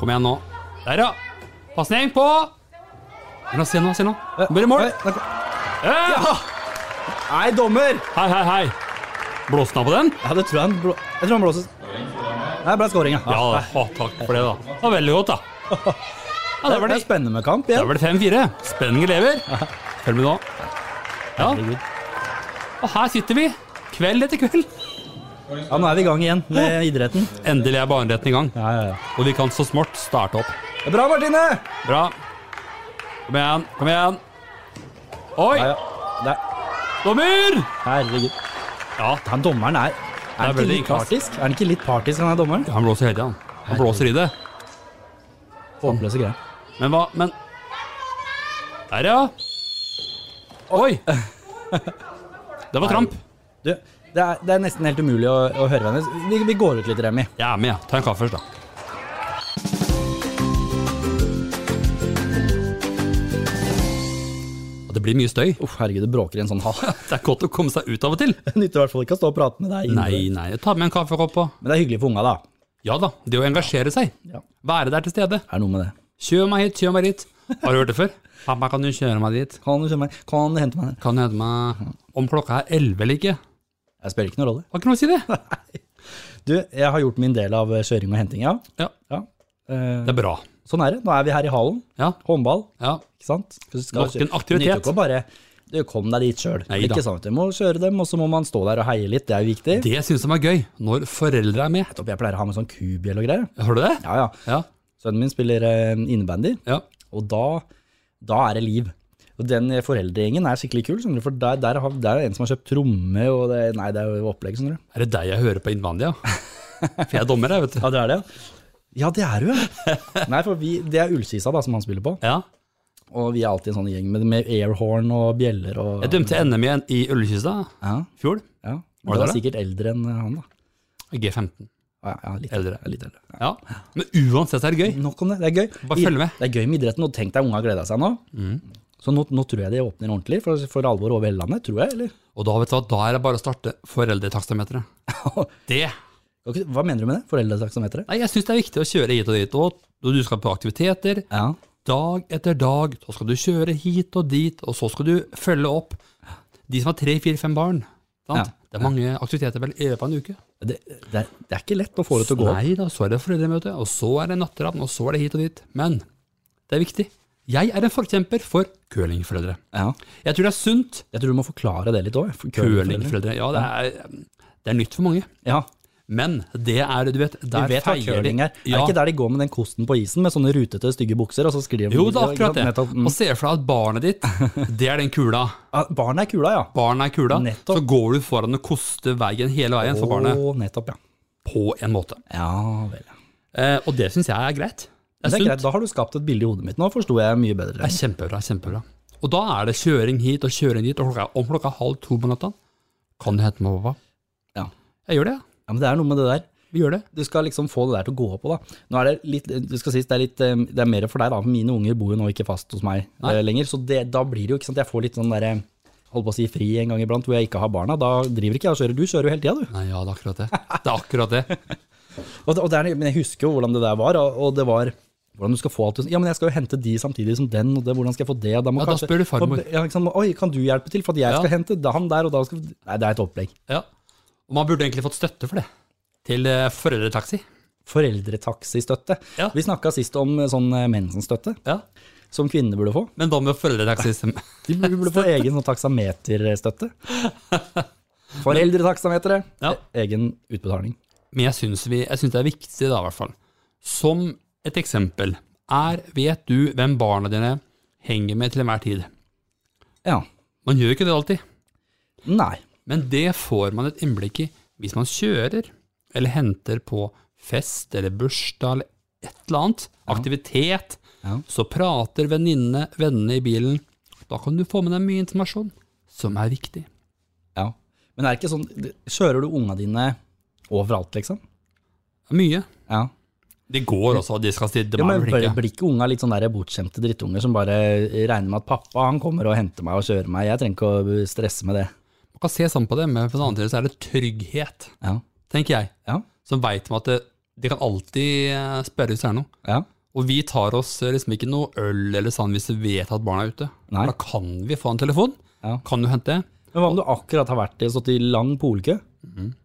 Kom igjen nå. Der, ja. Pasning på La oss se nå, se nå. Eh, Nå blir det mål. Oi, der kom- Ja! Nei, dommer! Hei, hei, hei. Blåste han på den? Ja, det tror jeg han blå... Jeg tror han blåses. Det er bra scoring, ja. Ja, da. Å, takk for det, da. Det var veldig godt, da. Ja, Det der var ble det spennende med kamp Der igjen. var det 5-4. Spenningen lever. Følg med nå. Ja, Herregud. og her sitter vi. Kveld etter kveld. Ja, nå er vi i gang igjen med idretten. Endelig er baneretten i gang, Ja, ja, ja. og vi kan så smått starte opp. Det er Bra, Martine! Bra. Kom igjen, kom igjen. Ja, Oi, ja. Der. dommer! Herregud. Ja, Han dommeren Det er Er han er ikke veldig litt klass. partisk? Er han ikke litt partisk, han er dommeren? han blåser hele tiden. Han blåser i det. Håpløse greier. Men hva Men Der, ja. Oi! Det var tramp. Du, det er, det er nesten helt umulig å, å høre hva hennes. Vi, vi går ut litt, Remi. Jeg er med, jeg. Ta en kaffe først, da. Og det blir mye støy. Uff, herregud, det bråker i en sånn hall. Det er godt å komme seg ut av og til. Nytter i hvert fall ikke å stå og prate med deg. Nei, nei. Ta med en kaffekopp og Men det er hyggelig for unga, da. Ja da, det å engasjere seg. Ja. Være der til stede. Er det noe med det. Kjør meg hit, kjør meg dit. Har du hørt det før? Pappa, kan du kjøre meg dit? Kan du, kjøre meg? kan du hente meg her? Kan du hente meg om klokka er elleve eller ikke? Jeg spiller ikke noen rolle. Har ikke noe å si, det. Du, jeg har gjort min del av eh, kjøring og henting, ja. Ja, ja. Eh, Det er bra. sånn er det. Nå er vi her i hallen. Ja, Håndball, ja. ikke sant? Du skal Nok en kjøre- aktivitet. Nytter ikke å bare du, kom deg dit sjøl. Nei da. Ikke sant? Du må kjøre dem, og så må man stå der og heie litt. Det er jo viktig. Det syns de er gøy, når foreldre er med. Jeg pleier å ha med sånn kubjell og greier. Har du det? Ja, ja. Ja. Sønnen min spiller eh, innebandy, ja. og da, da er det liv. Og den foreldregjengen er skikkelig kul, skjønner du, for der, der, har, der er det en som har kjøpt tromme, og det, nei, det er jo opplegg, skjønner du. Er det deg jeg hører på innvendig, ja? For jeg er dommer, jeg, vet du. Ja, det er det, ja. Ja, det er du, ja. Nei, for vi, det er Ullsisa da, som han spiller på, Ja. og vi er alltid en sånn gjeng med, med airhorn og bjeller og... Jeg dømte NM igjen i Ullekista Ja, i fjor. ja. Var Du det er det? sikkert eldre enn han da. G15. Ja, ja, litt Eldre. Ja, litt eldre. Ja. Men uansett er det gøy. Nok om det, det er gøy. Bare følg med. Mm. Det er gøy med idretten, og tenk deg unga gleder seg nå. Så nå, nå tror jeg det åpner ordentlig, for, for alvor over hele landet, tror jeg, eller? Og da vet du hva, da er det bare å starte foreldretaksameteret. Det. Ok, Hva mener du med det? Foreldretaksameteret? Nei, jeg syns det er viktig å kjøre hit og dit. Og når du skal på aktiviteter, Ja. dag etter dag, så skal du kjøre hit og dit, og så skal du følge opp de som har tre, fire, fem barn. Sant? Ja. Det er mange aktiviteter vel i løpet av en uke. Det, det, er, det er ikke lett å få det til å gå opp. Nei da, så er det foreldremøte, og så er det natteravn, og så er det hit og dit. Men det er viktig. Jeg er en forkjemper for curlingforeldre. Ja. Jeg tror det er sunt. Jeg tror du må forklare det litt òg. Curlingforeldre. Ja, det er, det er nytt for mange. Ja, Men det er, du vet, du der vet hva feier de. curling er. Er Ja. det ikke der de går med den kosten på isen med sånne rutete, stygge bukser, og så sklir de Jo, det er ikke sant? akkurat det. Nettopp, mm. Og se for deg at barnet ditt, det er den kula. Ah, Barnet er kula, ja. Barnet er kula, Nettopp. så går du foran og koster veien hele veien for barnet. Å, nettopp, ja. På en måte. Ja vel. ja. Eh, og det syns jeg er greit. Men Det Det er er greit, sunt. Da har du skapt et bilde i hodet mitt. Nå forsto jeg mye bedre. Det er kjempebra. kjempebra. Og da er det kjøring hit og kjøring dit, og klokka, om klokka er halv to på natta Kan du hente meg, pappa? Ja. Jeg gjør det, ja. Ja, men det er noe med det der. Vi gjør det. Du skal liksom få det der til å gå opp. og Da. Nå er det litt, du skal sies, det er, litt, eh, det er mer for deg, da. Mine unger bor jo nå ikke fast hos meg Nei. eh, lenger. Så det, da blir det jo ikke sant, jeg får litt sånn derre Holdt på å si fri en gang iblant hvor jeg ikke har barna. Da driver ikke jeg og kjører. Du kjører jo hele tida, du. Nei, ja, det er akkurat det. Det er akkurat det. Og, det- og det er, men jeg husker jo hvordan det der var, og, og det var hvordan du skal få alt til- Ja, men jeg skal jo hente de samtidig som den, og det, hvordan skal jeg få det? og Da, må Ja, da kanskje- spør du farmor. Ja, ikke sant, må- Oi, kan du hjelpe til, for at jeg Ja. skal hente da- han der, og da skal Nei, det er et opplegg. Ja. Og man burde egentlig fått støtte for det. Til eh, foreldretaxi. Foreldretaxistøtte. Ja. Vi snakka sist om eh, sånn eh, mensenstøtte, Ja. som kvinner burde få. Men hva med foreldretaxi? som- De burde burde få egen sånn taksameterstøtte. Foreldretaksameteret. Ja. E-, Egen utbetaling. Men jeg syns, vi, jeg syns det er viktig, da, i hvert fall. Som et eksempel er Vet du hvem barna dine henger med til enhver tid? Ja. Man gjør ikke det alltid, Nei. men det får man et innblikk i hvis man kjører eller henter på fest eller bursdag eller et eller annet. Aktivitet. Ja. Så prater venninnene, vennene i bilen. Da kan du få med deg mye informasjon som er viktig. Ja. Men er det ikke sånn Kjører du unga dine overalt, liksom? Mye. Ja. Det går også, de skal si det. ja men meg, bør, tenker jeg. blir ikke unga litt sånn der bortskjemte drittunger som bare regner med at pappa han kommer og henter meg og kjører meg? Jeg trenger ikke å stresse med det. Man kan se sånn på det, men på den andre siden så er det trygghet, Ja. tenker jeg. Ja. som veit om at det, de kan alltid eh, spørre hvis det er noe. ja. Og vi tar oss eh, liksom ikke noe øl eller sånn hvis vi vet at barna er ute. Nei. Da kan vi få en telefon. Ja. Kan du hente? Men hva om du akkurat har vært i, stått i lang polkø?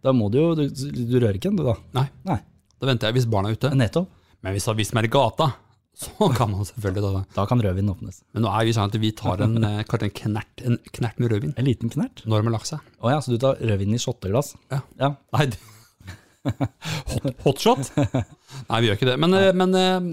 Da må du jo Du, du rører ikke den, du da. Nei, Nei, da venter jeg hvis barna er ute. nettopp. Men hvis, hvis man er i gata, så kan man selvfølgelig ta det. Da kan rødvinen åpnes. Men nå er vi sånn at vi tar en, eh, kanskje en knert, en knert med rødvin En liten knert. når de har lagt seg. Å ja, så du tar rødvin i shotteglass? Ja. ja. Nei, det- hot, hotshot? Nei, vi gjør ikke det. Men, eh, men eh,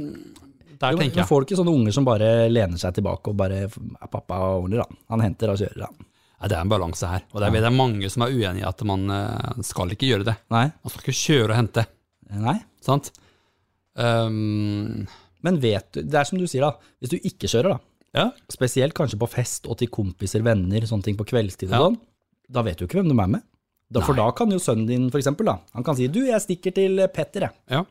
der Jo, men- tenker men jeg. får du ikke sånne unger som bare lener seg tilbake og bare er pappa ordner, han. Han henter og kjører, han. Nei, det er en balanse her. Og det er, det er mange som er uenige i at man eh, skal ikke gjøre det. Nei. Man skal ikke kjøre og hente, Nei. sant? Ehm, Men vet du, det er som du sier, da. Hvis du ikke kjører, da. ja. Spesielt kanskje på fest og til kompiser, venner, sånne ting på kveldstid og Ja. sånn. Da vet du ikke hvem de er med. Da, for da kan jo sønnen din, for eksempel, da. Han kan si 'du, jeg stikker til Petter', jeg. Ja.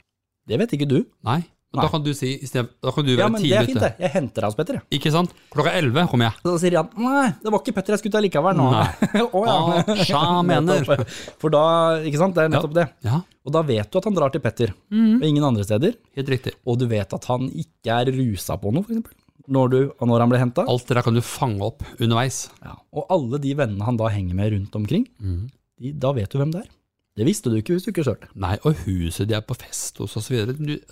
Det vet ikke du. Nei. Nei. Men da kan du si i stedet- Da kan du Ja, være men det er tidlig fint, ute. det. Jeg henter deg hos Petter, jeg. Ikke sant? Klokka 11 kommer jeg. Så da sier han nei, det var ikke Petter jeg skulle ta likevel nå. Nei. Å ja. Hva sja mener? Nettopp. For da, ikke sant, det er nettopp det. Ja, Mhm. Og da vet du at han drar til Petter, og ingen andre steder. helt riktig. Og du vet at han ikke er rusa på noe, for eksempel. Når, du, og når han ble henta. Alt det der kan du fange opp underveis. Ja. Og alle de vennene han da henger med rundt omkring, Mm. de, da vet du hvem det er. Det visste du ikke hvis du ikke kjørte. Nei, og huset de er på fest hos osv.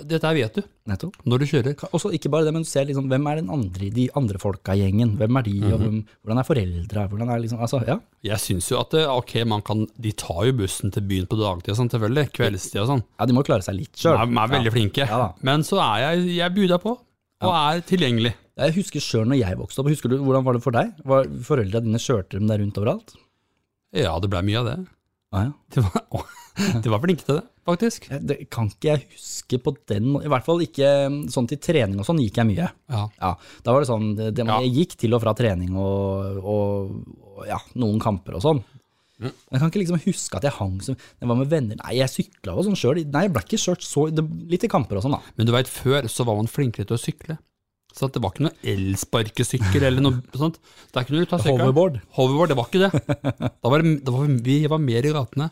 Dette her vet du Nettopp. når du kjører. Og så ikke bare det, men du ser liksom, hvem er den andre, de andre folka i gjengen. Hvem er de, Mhm. og hvem, hvordan er foreldra, hvordan er liksom Altså, ja. Jeg syns jo at eh, ok, man kan, de tar jo bussen til byen på dagtid og sånn, selvfølgelig. Kveldstid og sånn. ja, de må klare seg litt De sjøl. er, de er veldig flinke. Ja da. Men så er jeg, jeg bjuda på, og er tilgjengelig. Jeg husker sjøl når jeg vokste opp. Husker du Hvordan var det for deg? Var Foreldra dine kjørte dem der rundt overalt? Ja, det blei mye av det. Ah, ja. De var, å, de var flinke til det, faktisk. Jeg- Det kan ikke jeg huske på den må- I hvert fall ikke um, sånn til trening og sånn gikk jeg mye. Ja. Ja, Da var det sånn det, det, Ja. Jeg gikk til og fra trening og, og, og ja, noen kamper og sånn. Men Jeg kan ikke liksom huske at jeg hang som Det var med venner Nei, jeg sykla og sånn sjøl. Nei, jeg ble ikke kjørt så det, Litt i kamper og sånn, da. Men du veit, før så var man flinkere til å sykle. Så at det var ikke noe elsparkesykkel eller noe sånt. Der kunne du ta sykkelen. Hoverboard. Hoverboard, det var ikke det. Da var det, da var vi, vi var mer i gatene.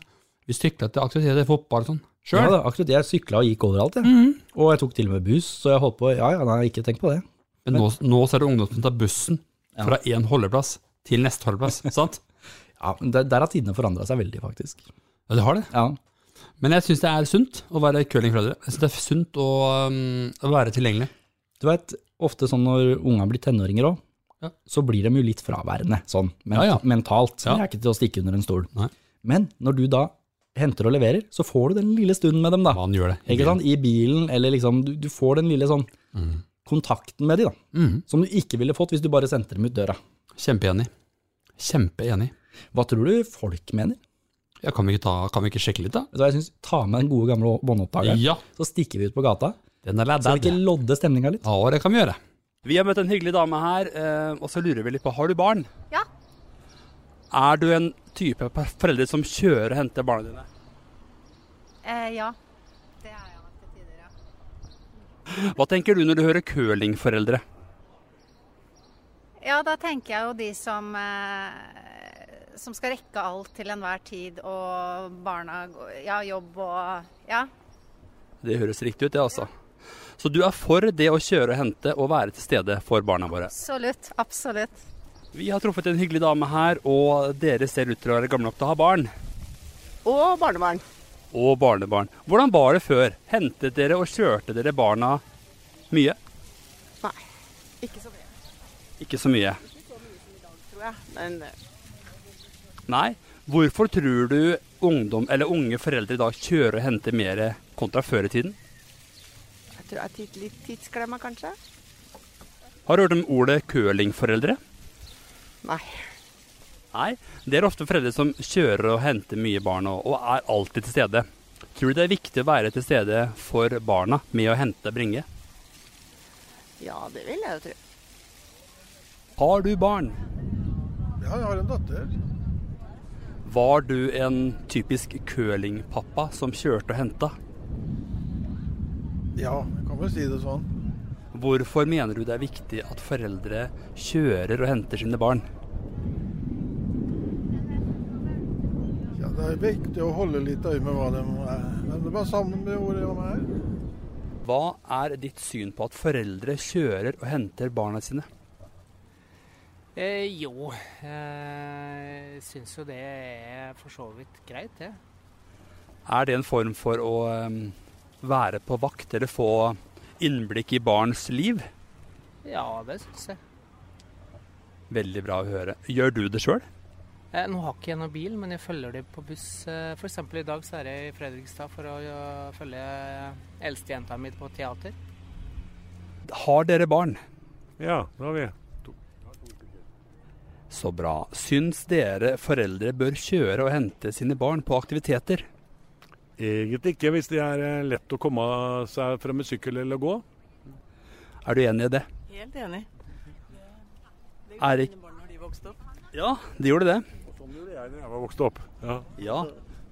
Vi sykla til aktiviteter, fotball og sånn. Ja, Sjøl. da, akkurat. Jeg sykla og gikk overalt, jeg. Og jeg tok til og med buss, så jeg holdt på Ja ja, nei, ikke tenk på det. Men nå, nå ser du ungdom som tar bussen fra én holdeplass til neste holdeplass. sant? Ja, men der, der har tidene forandra seg veldig, faktisk. Ja, det har det. Ja, Men jeg syns det er sunt å være curlingforeldre. Jeg syns det er sunt å, um, å være tilgjengelig. Du vet, ofte sånn når unga blir tenåringer òg, Ja. så blir de jo litt fraværende, sånn men Ja, ja. mentalt. Ja. De er ikke til å stikke under en stol. Nei. Men når du da henter og leverer, så får du den lille stunden med dem, da. Man gjør det. Ikke sant? I bilen, eller liksom Du, du får den lille sånn Mm. kontakten med de, da. Mhm. Som du ikke ville fått hvis du bare sendte dem ut døra. Kjempeenig. Kjempeenig. Hva tror du folk mener? Ja, kan, vi ikke ta, kan vi ikke sjekke litt, da? Vet du hva jeg synes, Ta med den gode gamle båndopptakeren, Ja, så stikker vi ut på gata. den er Skal vi læddad. ikke lodde stemninga litt? Ja, det kan vi gjøre. Vi har møtt en hyggelig dame her, eh, og så lurer vi litt på har du barn. Ja. Er du en type per- foreldre som kjører og henter barna dine? Eh, ja. Det har jeg vært til tider, ja. Hva tenker du når du hører curlingforeldre? Ja, da tenker jeg jo de som, eh, som skal rekke alt til enhver tid, og barna går- Ja, jobb og Ja. Det høres riktig ut, det altså. Så du er for det å kjøre og hente og være til stede for barna våre? Absolutt. Absolutt. Vi har truffet en hyggelig dame her, og dere ser ut til å være gamle nok til å ha barn. Og barnebarn. Og barnebarn. Hvordan var det før? Hentet dere og kjørte dere barna mye? Nei, ikke så mye, Ikke så mye. tror jeg. Men eh, Nei. Hvorfor tror du ungdom eller unge foreldre i dag kjører og henter mer kontra før i tiden? jeg tror jeg titt, litt tidsklemma, kanskje. Har du hørt om ordet curlingforeldre? Nei. Nei. Det er ofte foreldre som kjører og henter mye barn og, og er alltid til stede. Tror du det er viktig å være til stede for barna med å hente og bringe? Ja, det vil jeg jo tro. Har du barn? Ja, jeg har en datter. Var du en typisk curlingpappa som kjørte og henta? Ja, jeg kan vel si det sånn. Hvorfor mener du det er viktig at foreldre kjører og henter sine barn? Ja, Det er viktig å holde litt øye med hva de er. Men det var sammen med hvor de er. Hva er ditt syn på at foreldre kjører og henter barna sine? Eh, jo, jeg eh, syns jo det er for så vidt greit, det. Er det en form for å eh, være på vakt eller få innblikk i barns liv? Ja, det syns jeg. Veldig bra å høre. Gjør du det sjøl? Eh, nå har ikke jeg noen bil, men jeg følger dem på buss. Eh, for eksempel i dag så er jeg i Fredrikstad for å eh, følge eldstejenta mi på teater. Har dere barn? Ja, det har vi. Så bra. Syns dere foreldre bør kjøre og hente sine barn på aktiviteter? Egentlig ikke, hvis det er eh, lett å komme seg fra med sykkel eller gå. Er du enig i det? Helt enig. gjorde Erik- barn når de vokste opp. Ja, de gjorde det. Sånn gjorde jeg da jeg var vokst opp. Ja. Ja.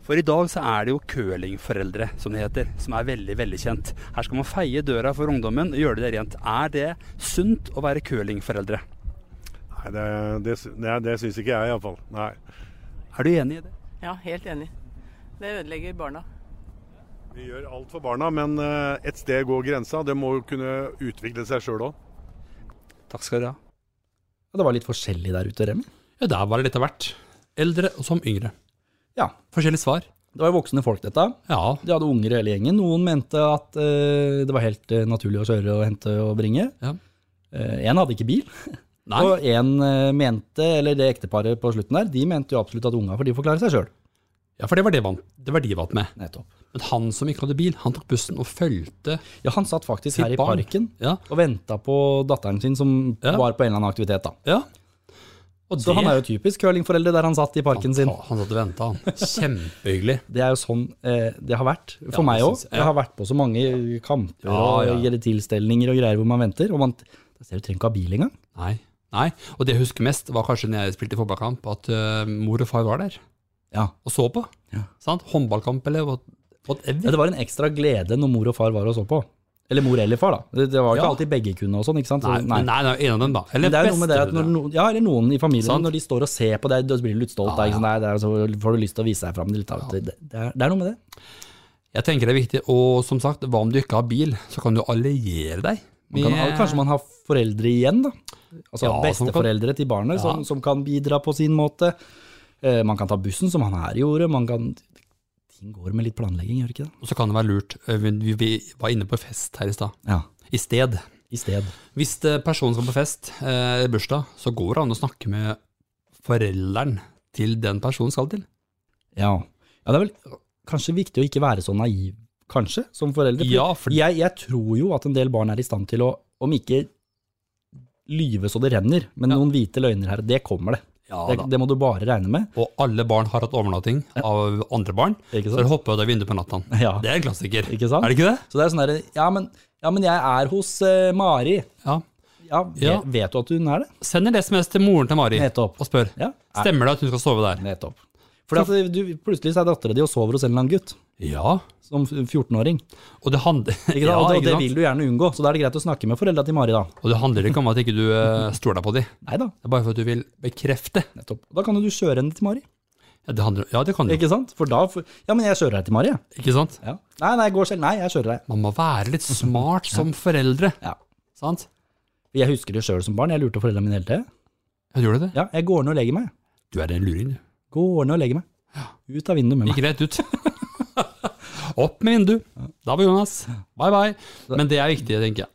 For i dag så er det jo curlingforeldre, som det heter, som er veldig veldig kjent. Her skal man feie døra for ungdommen og gjøre det rent. Er det sunt å være curlingforeldre? Nei, det, det, sy- nei, det syns ikke jeg iallfall. Nei. Er du enig i det? Ja, helt enig. Det ødelegger barna. Vi gjør alt for barna, men eh, et sted går grensa. Det må jo kunne utvikle seg sjøl òg. Takk skal dere ha. Ja, det var litt forskjellig der ute, Remi. Ja, der var det litt av hvert. Eldre og som yngre. Ja. Forskjellige svar. Det var jo voksne folk, dette. Ja, De hadde unger hele gjengen. Noen mente at eh, det var helt eh, naturlig å kjøre og hente og bringe. Ja. Eh, en hadde ikke bil, nei. og en eh, mente, eller det ekteparet på slutten der, de mente jo absolutt at unga får de forklare seg sjøl. Ja, for det var det, van, det var de vant med. Nettopp. Men han som ikke hadde bil, han tok bussen og fulgte Ja, han satt faktisk Sitt her i barn. parken Ja. og venta på datteren sin som Ja. var på en eller annen aktivitet, da. Ja. Og Så han er jo typisk curlingforeldre der han satt i parken sin. Han, han satt og venta, han. Kjempehyggelig. Det er jo sånn eh, det har vært for Ja, meg det òg. synes jeg. Jeg har vært på så mange kamper Ja, ja. og gjelder tilstelninger og greier hvor man venter. Og man da ser du trenger ikke ha bil engang. Nei. Nei. Og det jeg husker mest, var kanskje når jeg spilte fotballkamp, at øh, mor og far var der Ja. og så på. Ja. Sant? Håndballkamp eller what- whatever. Ja, det var en ekstra glede når mor og far var og så på. Eller mor eller far, da. Det, det var jo ikke Ja. alltid begge kunne og sånn, ikke sant. Så, Nei, nei. nei, nei, en av dem, da. Eller Men det er jo noe med det at når besteforeldre. noen, ja, eller noen i familien, Sant. når de står og ser på deg, da blir du litt stolt. Ja, da, ikke sant? Nei, det er, så får du lyst til å vise deg fram. Litt, av- det, det, er, det er noe med det. Jeg tenker det er viktig, og som sagt, hva om du ikke har bil, så kan du alliere deg. Man kan, med- Kanskje man har foreldre igjen, da. Altså Ja, som kan- besteforeldre til barnet, som, som kan bidra på sin måte. Eh, man kan ta bussen, som han her gjorde. Man kan Ting går med litt planlegging, gjør det ikke det? Og så kan det være lurt, øh, vi, vi var inne på fest her i stad, Ja. i sted. I sted. Hvis det- personen skal på fest, eh, bursdag, så går det an å snakke med forelderen til den personen skal til. Ja. ja. Det er vel kanskje viktig å ikke være så naiv, kanskje, som foreldre. for Ja, for jeg, jeg tror jo at en del barn er i stand til å, om ikke lyve så det renner, men noen hvite løgner her, det kommer det. Ja Det, da. det må du bare regne med. Og alle barn har hatt overnatting av andre barn, Ikke så de sant? hopper ut av vinduet på natta. Ja. Det er en klassiker. Ikke sant? Er det ikke det? Så det er sånn derre ja, men- ja, men jeg er hos eh, Mari. Ja. Ja, ve- Ja. Vet du at hun er det? Send en SMS til moren til Mari Nettopp. og spør. Ja, er, Stemmer det at hun skal sove der? nettopp. Fordi at du, plutselig så er dattera di og sover hos en eller annen gutt, Ja. som 14-åring. Og det handler Ikke sant? og, det- og det sant? vil du gjerne unngå, så da er det greit å snakke med foreldra til Mari, da. Og det handler ikke om at ikke du ikke stoler på dem. Det Nei da, er bare for at du vil bekrefte. nettopp. Da kan jo du kjøre henne til Mari, Ja, det, handler, ja, det kan du. ikke sant? For da får- Ja, men jeg kjører deg til Mari, jeg. Ikke sant? Ja. Nei, nei, går selv. Nei, jeg kjører deg. Man må være litt smart som foreldre. Ja. Sant? Jeg husker det sjøl som barn, jeg lurte foreldrene mine hele tida. Ja, Gjorde du det? Ja, jeg går ned og legger meg. Du er en luring, du. Går ned og legger meg. Ut av vinduet med meg. Gikk rett ut. Opp med vinduet. Da var Jonas. Bye, bye. Men det er viktig, tenker jeg.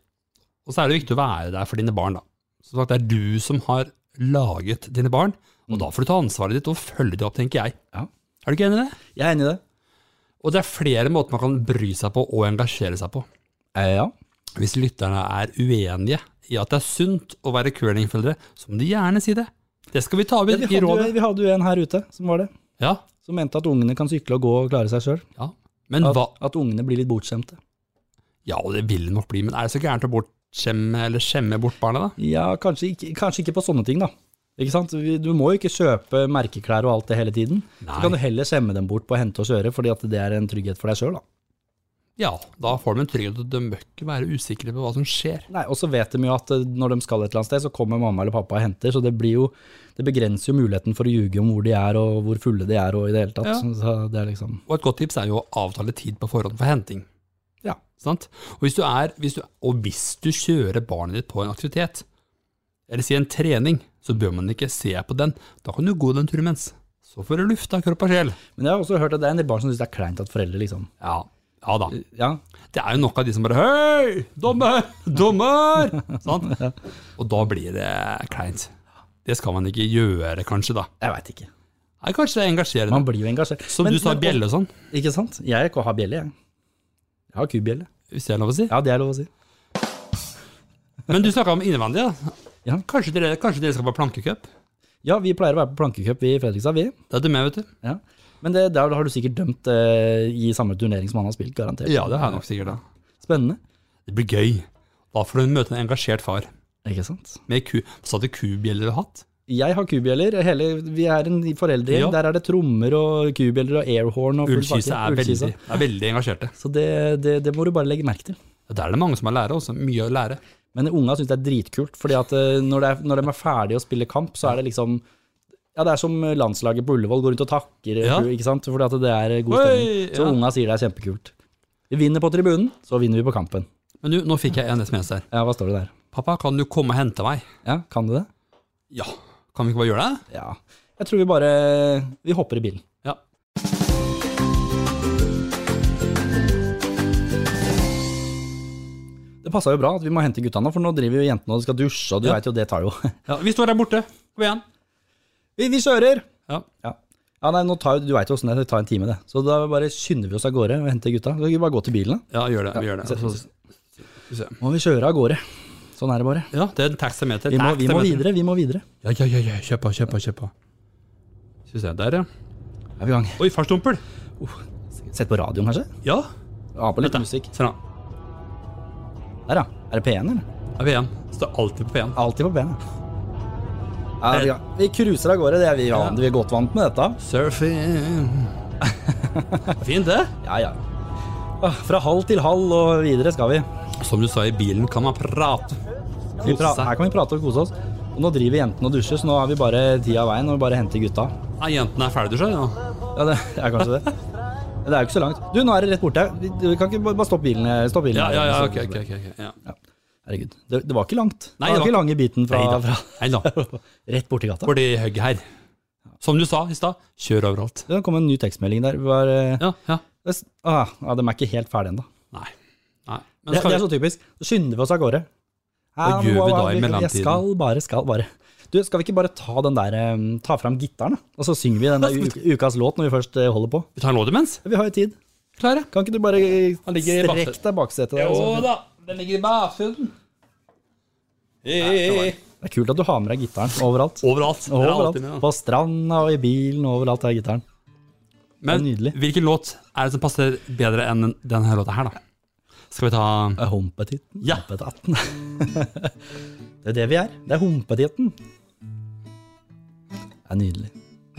Og så er det viktig å være der for dine barn, da. Som sagt, det er du som har laget dine barn, og da får du ta ansvaret ditt og følge det opp, tenker jeg. Ja. Er du ikke enig i det? Jeg er enig i det. Og det er flere måter man kan bry seg på og engasjere seg på. Eh, ja. Hvis lytterne er uenige i at det er sunt å være curlingforeldre, så må de gjerne si det. Det skal vi ta Ja, med i vi, hadde, rådet. jo- vi hadde jo en her ute som var det. Ja, Som mente at ungene kan sykle og gå og klare seg sjøl. ja. Men At, hva at ungene blir litt bortskjemte. Ja, og det vil det nok bli, men er det så gærent å bortskjemme eller skjemme bort barna, da? Ja, kanskje ikke, kanskje ikke på sånne ting, da. Ikke sant? Vi- Du må jo ikke kjøpe merkeklær og alt det hele tiden. Så kan du heller skjemme dem bort på å hente og kjøre, fordi at det er en trygghet for deg sjøl, da. Ja, da får de en trygghet, og de bør ikke være usikre på hva som skjer. Nei, Og så vet de jo at eh, når de skal et eller annet sted, så kommer mamma eller pappa og henter, så det blir jo Det begrenser jo muligheten for å ljuge om hvor de er, og hvor fulle de er, og i det hele tatt. Ja. Så- Så det er liksom Og et godt tips er jo å avtale tid på forhånd for henting. Ja. Sant? Og, hvis du er, hvis du, og hvis du kjører barnet ditt på en aktivitet, eller si en trening, så bør man ikke se på den. Da kan du gå den turen mens. Så får du lufta kropp og sjel. Men jeg har også hørt at det er en del barn som syns det er kleint at foreldre liksom Ja, ja da. Ja, Det er jo nok av de som bare Hei, dommer! Dommer! Sant? Og da blir det kleint. Det skal man ikke gjøre, kanskje, da. jeg veit ikke. Nei, kanskje det er engasjerende. Man blir jo engasjert. Som Men- du sa, men- bjelle og sånn. Ikke sant? Jeg har bjelle, jeg. Jeg har kubjelle. Hvis det er lov å si. Ja, det er lov å si. Men du snakka om innvendig, da. Ja. Kanskje, dere, kanskje dere skal på plankecup? Ja, vi pleier å være på plankecup i Fredrikstad, vi. Det er du med, vet du. Ja. Men det, der har du sikkert dømt eh, i samme turnering som han har spilt, garantert. Ja, det har jeg nok sikkert, da. Spennende. Det blir gøy. Da får du møte en engasjert far. Ikke sant? Med ku, sa du kubjeller og hatt? Jeg har kubjeller. Hele, vi er en Ja. foreldregjeng. Der er det trommer og kubjeller og airhorn. og full Ullkise pakke. er Ullkisa. veldig, er veldig engasjerte. Så det, det, det må du bare legge merke til. Der er det mange som har lære også. Mye å lære. Men unga syns det er dritkult, fordi at eh, når, det er, når de er ferdige å spille kamp, så er det liksom Ja, det er som landslaget på Ullevål går rundt og takker, eh, Ja. ikke sant? Fordi at det er god Oi, stemning. Så ja. unga sier det er kjempekult. Vi vinner på tribunen, så vinner vi på kampen. Men du, nå fikk jeg en SMS her. Ja, hva står det der? Pappa, kan du komme og hente meg? Ja, kan du det? Ja. Kan vi ikke bare gjøre det? Ja. Jeg tror vi bare Vi hopper i bilen. Ja. Det passa jo bra at vi må hente gutta nå, for nå driver jo jentene og skal dusje, og du Ja. vet veit jo det tar jo ja. Vi står der borte. Kom igjen. Vi, vi kjører! Ja. ja. Ja, nei, nå tar, jo- Du veit jo åssen det er, det tar en time, det. Så da bare skynder vi oss av gårde og henter gutta. Så kan vi bare gå til bilen, da. Ja, gjør det. Vi gjør det. Ja, Så, så- Må vi kjøre av gårde. Sånn er det bare. ja, det er en taximeter. Vi må, vi må Taximeter. videre, vi må videre. Ja, ja, ja, ja. Kjøp på, kjøp på, kjøp på. Skal vi se. Der, ja. Er vi i gang? Oi, farstumpel. Sett på radioen, kanskje? Ja. Ha på litt Vent da. musikk. Se nå. Der, ja. Er det P1, eller? Det er P1. Står alltid på P1. Alltid på P1. Ja, Eh. vi, vi cruiser av gårde, det er vi, vant- vi er godt vant med dette. Surfing. Fint, det. Ja, ja. Åh, Fra halv til halv og videre skal vi. Som du sa, i bilen kan man prate. vi pra Kose seg. her kan vi prate og kose oss. Og nå driver jentene og dusjer, så nå har vi bare tida av veien og vi bare henter gutta. Nei, jentene er ferdigdusja, ja. Ja, det er kanskje det. Det er jo ikke så langt. Du, nå er det rett borte. Vi- Du kan ikke bare bare stoppe bilen. eh, Stopp bilen Ja, ja, ja, Så- ok, ok, ok. ok, ja. Herregud. Det, det var ikke langt. Nei, det var det ikke var lange biten fra, Neida. fra Neida. Rett borti gata. Fordi høgget her. Som du sa i stad, kjør overalt. Det kom en ny tekstmelding der. Var, eh, Ja, ja. det s- ah, ja, de er ikke helt ferdige ennå. Nei. Nei. Men Det, skal det er vi, så typisk. Så skynder vi oss av gårde. Hva gjør vi da i mellomtiden? Jeg skal bare, skal bare. Du, skal vi ikke bare ta den der eh, Ta fram gitaren, da? Og så synger vi den der u- ukas låt når vi først eh, holder på. vi tar en låt imens? Vi har jo tid. Klare? Kan ikke du bare eh, Han ligger i strekke baksetet. deg baksetet der? Altså, og så- da, den ligger i bakfunden. Det er kult at du har med deg gitaren overalt. Overalt. Den er Overalt. alltid med, da. På stranda og i bilen, overalt er gitaren. Men nydelig. hvilken låt er det som passer bedre enn denne låta her, da? Skal vi ta Eh, Humpetitten. Ja. Humpetatten. det er det vi er. Det er humpetitten. Det er nydelig.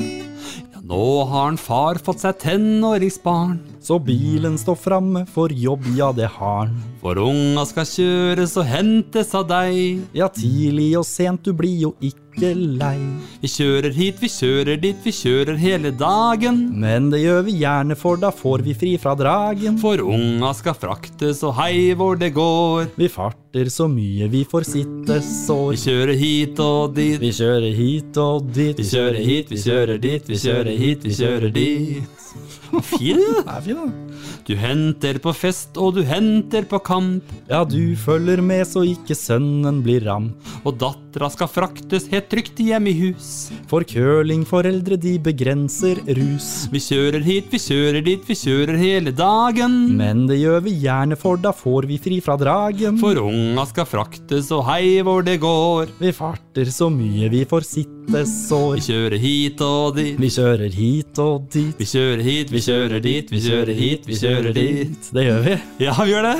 ja, Nå har en far fått seg tenåringsbarn. Så bilen står framme for jobb, ja det har den. For unga skal kjøres og hentes av deg. Ja, tidlig og sent, du blir jo ikke lei. Vi kjører hit, vi kjører dit, vi kjører hele dagen. Men det gjør vi gjerne, for da får vi fri fra dragen. For unga skal fraktes og hei hvor det går. Vi farter så mye vi får sitte Vi sår. kjører hit og dit. Vi kjører hit og dit, Vi kjører hit, vi kjører dit, vi kjører hit, vi kjører dit. Fin, Det er fint, da. du henter på fest og du henter på kamp. Ja, du følger med så ikke sønnen blir ramp. Og dattera skal fraktes helt trygt hjem i hus. For curlingforeldre, de begrenser rus. Vi kjører hit, vi kjører dit, vi kjører hele dagen. Men det gjør vi gjerne, for da får vi fri fra dragen. For unga skal fraktes og hei hvor det går. Vi farter så mye vi får sitte Vi sår. kjører hit og dit. Vi kjører hit og dit. Vi kjører hit, vi kjører dit, vi kjører hit, vi kjører dit. Det gjør vi. Ja, vi gjør det.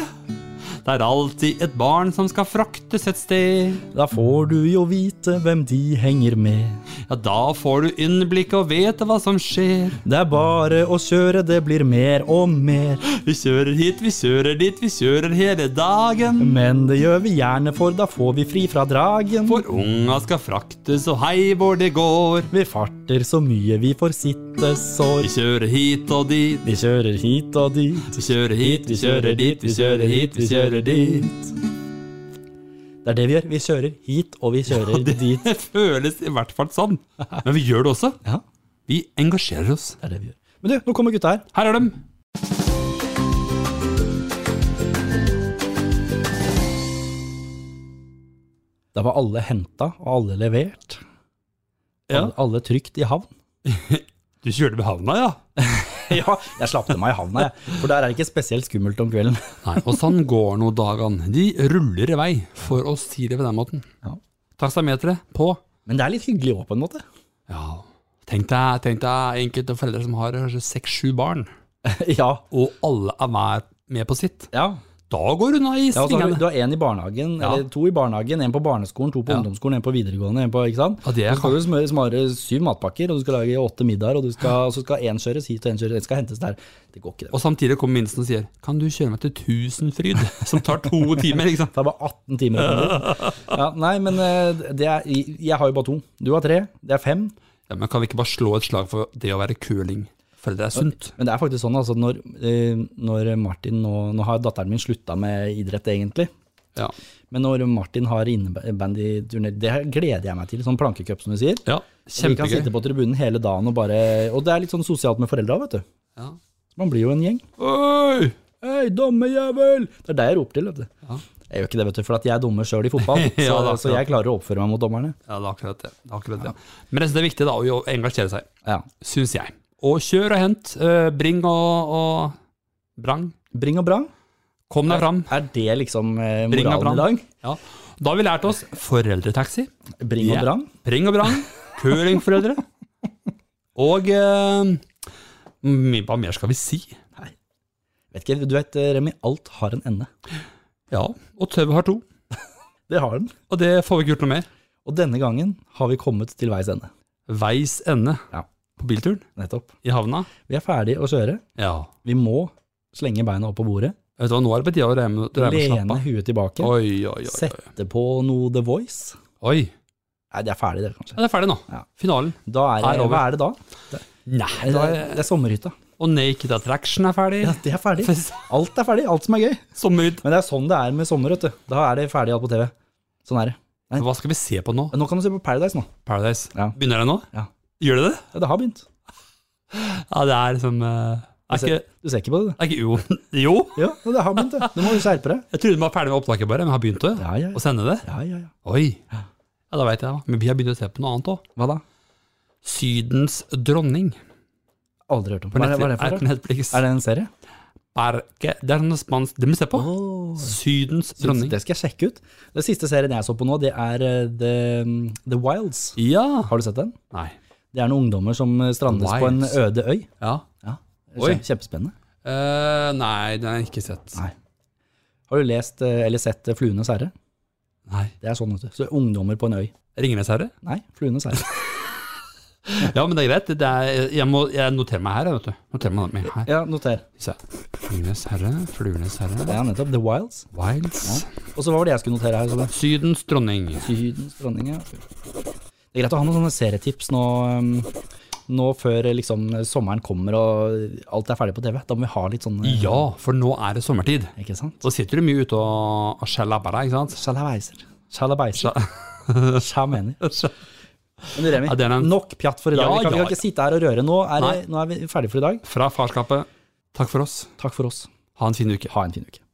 Det er alltid et barn som skal fraktes et sted. Da får du jo vite hvem de henger med. Ja, da får du innblikk og vet hva som skjer. Det er bare å kjøre, det blir mer og mer. Vi kjører hit, vi kjører dit, vi kjører hele dagen. Men det gjør vi gjerne, for da får vi fri fra dragen. For unga skal fraktes og hei hvor det går. Vi farter farter så mye vi får sitte sår. Vi kjører hit og dit, Vi kjører hit og dit. vi kjører hit, vi kjører dit, vi kjører hit, vi kjører dit. Det er det vi gjør. Vi kjører hit, og vi kjører dit. Det føles i hvert fall sånn. Men vi gjør det også. Ja, Vi engasjerer oss. det er det vi gjør. Men du, nå kommer gutta her. Her er dem. Da var alle henta, og alle levert. Ja. Alle, alle trygt i havn. Du kjørte ved havna, ja? Ja, jeg slapp dem av i havna, jeg. For der er det ikke spesielt skummelt om kvelden. Nei, og sånn går nå dagene. De ruller i vei, for å si det på den måten. Ja. Taksameteret på. Men det er litt hyggelig òg, på en måte. Ja, tenk deg, tenk deg enkelte foreldre som har kanskje seks-sju barn, Ja. og alle er hver med på sitt. ja. Da går unna i ja og så har du, svingene. du har én i barnehagen, Ja. eller to i barnehagen, én på barneskolen, to på Ja. ungdomsskolen, én på videregående, én på ikke sant? Ja, det er Så skal du smøre, smøre syv matpakker, og du skal lage åtte middager, og, du skal, og så skal én kjøres hit, og én kjøres, skal hentes der. Det går ikke, det. Og samtidig kommer minsten og sier Kan du kjøre meg til Tusenfryd? Som tar to timer, ikke sant? Det er bare 18 timer. å komme dit. Ja, nei, men eh, det er, jeg har jo bare to. Du har tre, det er fem. Ja, men kan vi ikke bare slå et slag for det å være curling? For det er sunt. Men det er faktisk sånn altså, når, eh, når Martin nå, nå har datteren min slutta med idrett, egentlig. Ja. Men når Martin har innebandyturné, det her gleder jeg meg til. Sånn plankecup, som du sier. ja Vi kan kjempegøy. sitte på tribunen hele dagen og bare Og det er litt sånn sosialt med foreldra, vet du. Ja. Så Man blir jo en gjeng. Oi! Hei, dommejævel! Det er det jeg roper til, vet du. Ja. Jeg gjør ikke det, vet du, for at jeg er dommer sjøl i fotball. Så, Ja, da, så jeg klarer å oppføre meg mot dommerne. Ja, det er akkurat det. det, er akkurat det. Men jeg synes det er viktig da, å engasjere seg, Ja. syns jeg. Og kjør og hent. eh, Bring og, og Brang. Bring og bra. Kom deg fram. Er det liksom eh, Bring og moralen i dag? Ja. Da har vi lært oss foreldretaxi, Bring Ja. og brang. Bring og Brang, curlingforeldre og eh, mye- Hva mer skal vi si? Vet ikke, du vet, eh, Remi, alt har en ende. Ja, og Tøv har to. Det har den. Og det får vi ikke gjort noe med. Og denne gangen har vi kommet til veis ende. Veis ende Ja. på bilturen Nettopp. i havna. Vi er ferdig å kjøre. Ja. Vi må slenge beina opp på bordet. Vet du hva, nå er det på tide å reime reime og slappe Lene av. huet tilbake. Oi, oi, oi. oi. Sette på noe The Voice. oi. Nei, det er ferdig, det, kanskje. Ja, det er ferdig nå. Ja. Finalen. Da er Er det, over. hva er det da? Nei, Det da er, er, det er sommerhytta. og Naked Attraction er ferdig. Ja, det er ferdig. Alt er ferdig. Alt som er gøy. Sommerhytt. Men det er sånn det er med sommer, vet du. Da er det ferdig alt på TV. Sånn er det. Hva skal vi se på nå? Men Nå kan du se på Paradise nå. Paradise. Ja. Begynner det nå? Ja. Gjør det det? Ja, det har begynt. Ja, det er liksom eh, Du er, ikke, ser, du ser ikke på det, du. er ikke Jo. Jo, Ja, det har begynt, det. Nå må du skjerpe deg. jeg trodde vi var ferdig med opptaket bare, men har begynt å, Ja, ja, å ja. sende det. ja, ja, ja. Oi. Ja, da veit jeg det. Men vi har begynt å se på noe annet òg. Hva da? Sydens dronning Aldri hørt om. på Hva Netflix. er det- hva er det er for på noe? Netflix. Er det en serie? Er ikke- det er noe spansk Det må vi se på. Sydens dronning. Det skal jeg sjekke ut. Den siste serien jeg så på nå, det er eh, The, The Wilds. Ja. Har du sett den? Nei. Det er noen ungdommer som eh, strandes på en Wilds. øde øy. Ja. Oi. Kjem- Kjempespennende. Eh, nei, den har jeg ikke sett. Nei. Har du lest eh, eller sett eh, Fluenes herre? Nei. Det er sånn, vet du. Så ungdommer på en øy. Ringenes herre? Nei, Fluenes herre. Ja, men det er greit. Det er, jeg, må, jeg noterer meg her, jeg, vet du. Noterer meg meg her. Ja, noter. Se. Ringenes herre, Fluenes herre, Det er nettopp The Wilds. Wilds. Og så hva var det jeg skulle notere her? Så det. Sydens dronning. Sydens dronning, ja. Det er greit å ha noen sånne serietips nå, um, nå før eh, liksom, sommeren kommer og alt er ferdig på TV. Da må vi ha litt sånne Ja, for nå er det sommertid. Ikke sant? Da sitter du mye ute og, og skjelabber deg, ikke sant? Sjalabeiser. Sjalabeiser. Sjamener. Men du, Remi, Ja, det er en- nok pjatt for i dag. Ja, vi, kan, vi ja, kan ikke sitte her og røre. Nå er, det, Nei. nå er vi ferdige for i dag. Fra farskapet, takk for oss. Takk for oss. Ha en fin uke. Ha en fin uke.